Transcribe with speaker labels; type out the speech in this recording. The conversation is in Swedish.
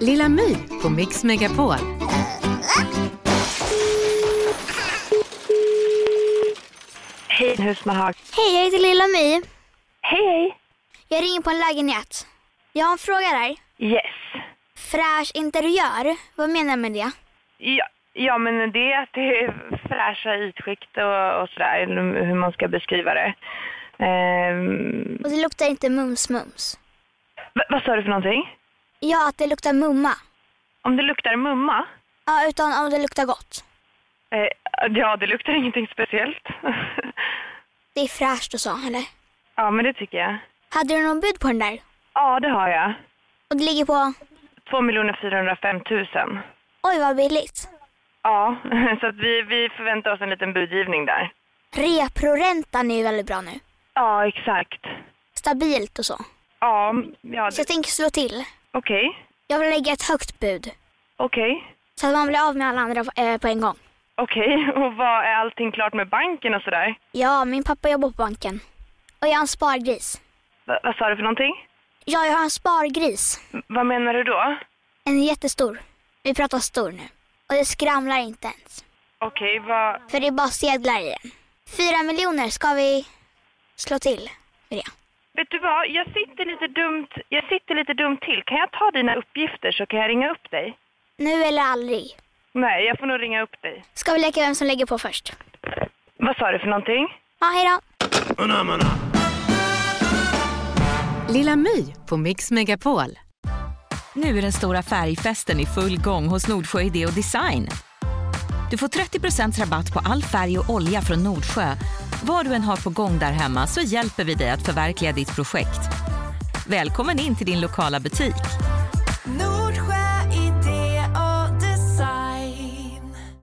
Speaker 1: Lilla My på Mix Megapol.
Speaker 2: Hej Husmahag.
Speaker 3: Hej, jag heter Lilla My.
Speaker 2: Hej hej.
Speaker 3: Jag ringer på en lägenhet. Jag har en fråga där.
Speaker 2: Yes.
Speaker 3: Fräsch interiör, vad menar jag med det?
Speaker 2: Ja, ja men det är att det är fräscha ytskikt och, och sådär, hur man ska beskriva det. Ehm,
Speaker 3: Och det luktar inte mums-mums.
Speaker 2: v- vad sa du för någonting?
Speaker 3: Ja, att det luktar mumma.
Speaker 2: Om det luktar mumma?
Speaker 3: Ja, utan om det luktar gott.
Speaker 2: Eh, ja, det luktar ingenting speciellt.
Speaker 3: Det är fräscht och så, eller?
Speaker 2: ja, men det tycker jag.
Speaker 3: Hade du någon bud på den där?
Speaker 2: Ja, det har jag.
Speaker 3: Och det ligger på...
Speaker 2: 2 405 000.
Speaker 3: Oj, vad billigt.
Speaker 2: Ja, så att vi, vi förväntar oss en liten budgivning där.
Speaker 3: Reproräntan är ju väldigt bra nu.
Speaker 2: Ja, exakt.
Speaker 3: Stabilt och så.
Speaker 2: Ja, ja
Speaker 3: Så jag
Speaker 2: det-
Speaker 3: tänker slå till.
Speaker 2: okej.
Speaker 3: Jag vill lägga ett högt bud.
Speaker 2: Okej.
Speaker 3: Så att man blir av med alla andra eh, på en gång.
Speaker 2: Okej, och vad är allting klart med banken och sådär?
Speaker 3: Ja, min pappa jobbar på banken. Och jag har en spargris.
Speaker 2: Va, vad sa du för någonting?
Speaker 3: Ja, jag har en spargris.
Speaker 2: V- vad menar du då?
Speaker 3: En jättestor. Vi pratar stor nu. Och det skramlar inte ens.
Speaker 2: Okej, vad...
Speaker 3: För det är bara sedlar i den. Fyra miljoner ska vi slå till med det.
Speaker 2: Vet du vad, jag sitter lite dumt, jag sitter lite dumt till. Kan jag ta dina uppgifter så kan jag ringa upp dig?
Speaker 3: Nu eller aldrig.
Speaker 2: Nej, jag får nog ringa upp dig.
Speaker 3: Ska vi leka vem som lägger på först?
Speaker 2: Vad sa du för någonting?
Speaker 3: Ja, hej då.
Speaker 1: Lilla My på Mix Megapol.
Speaker 4: Nu är den stora färgfesten i full gång hos Nordsjö Idé och Design. Du får 30 rabatt på all färg och olja från Nordsjö. Vad du än har på gång där hemma så hjälper vi dig att förverkliga ditt projekt. Välkommen in till din lokala butik.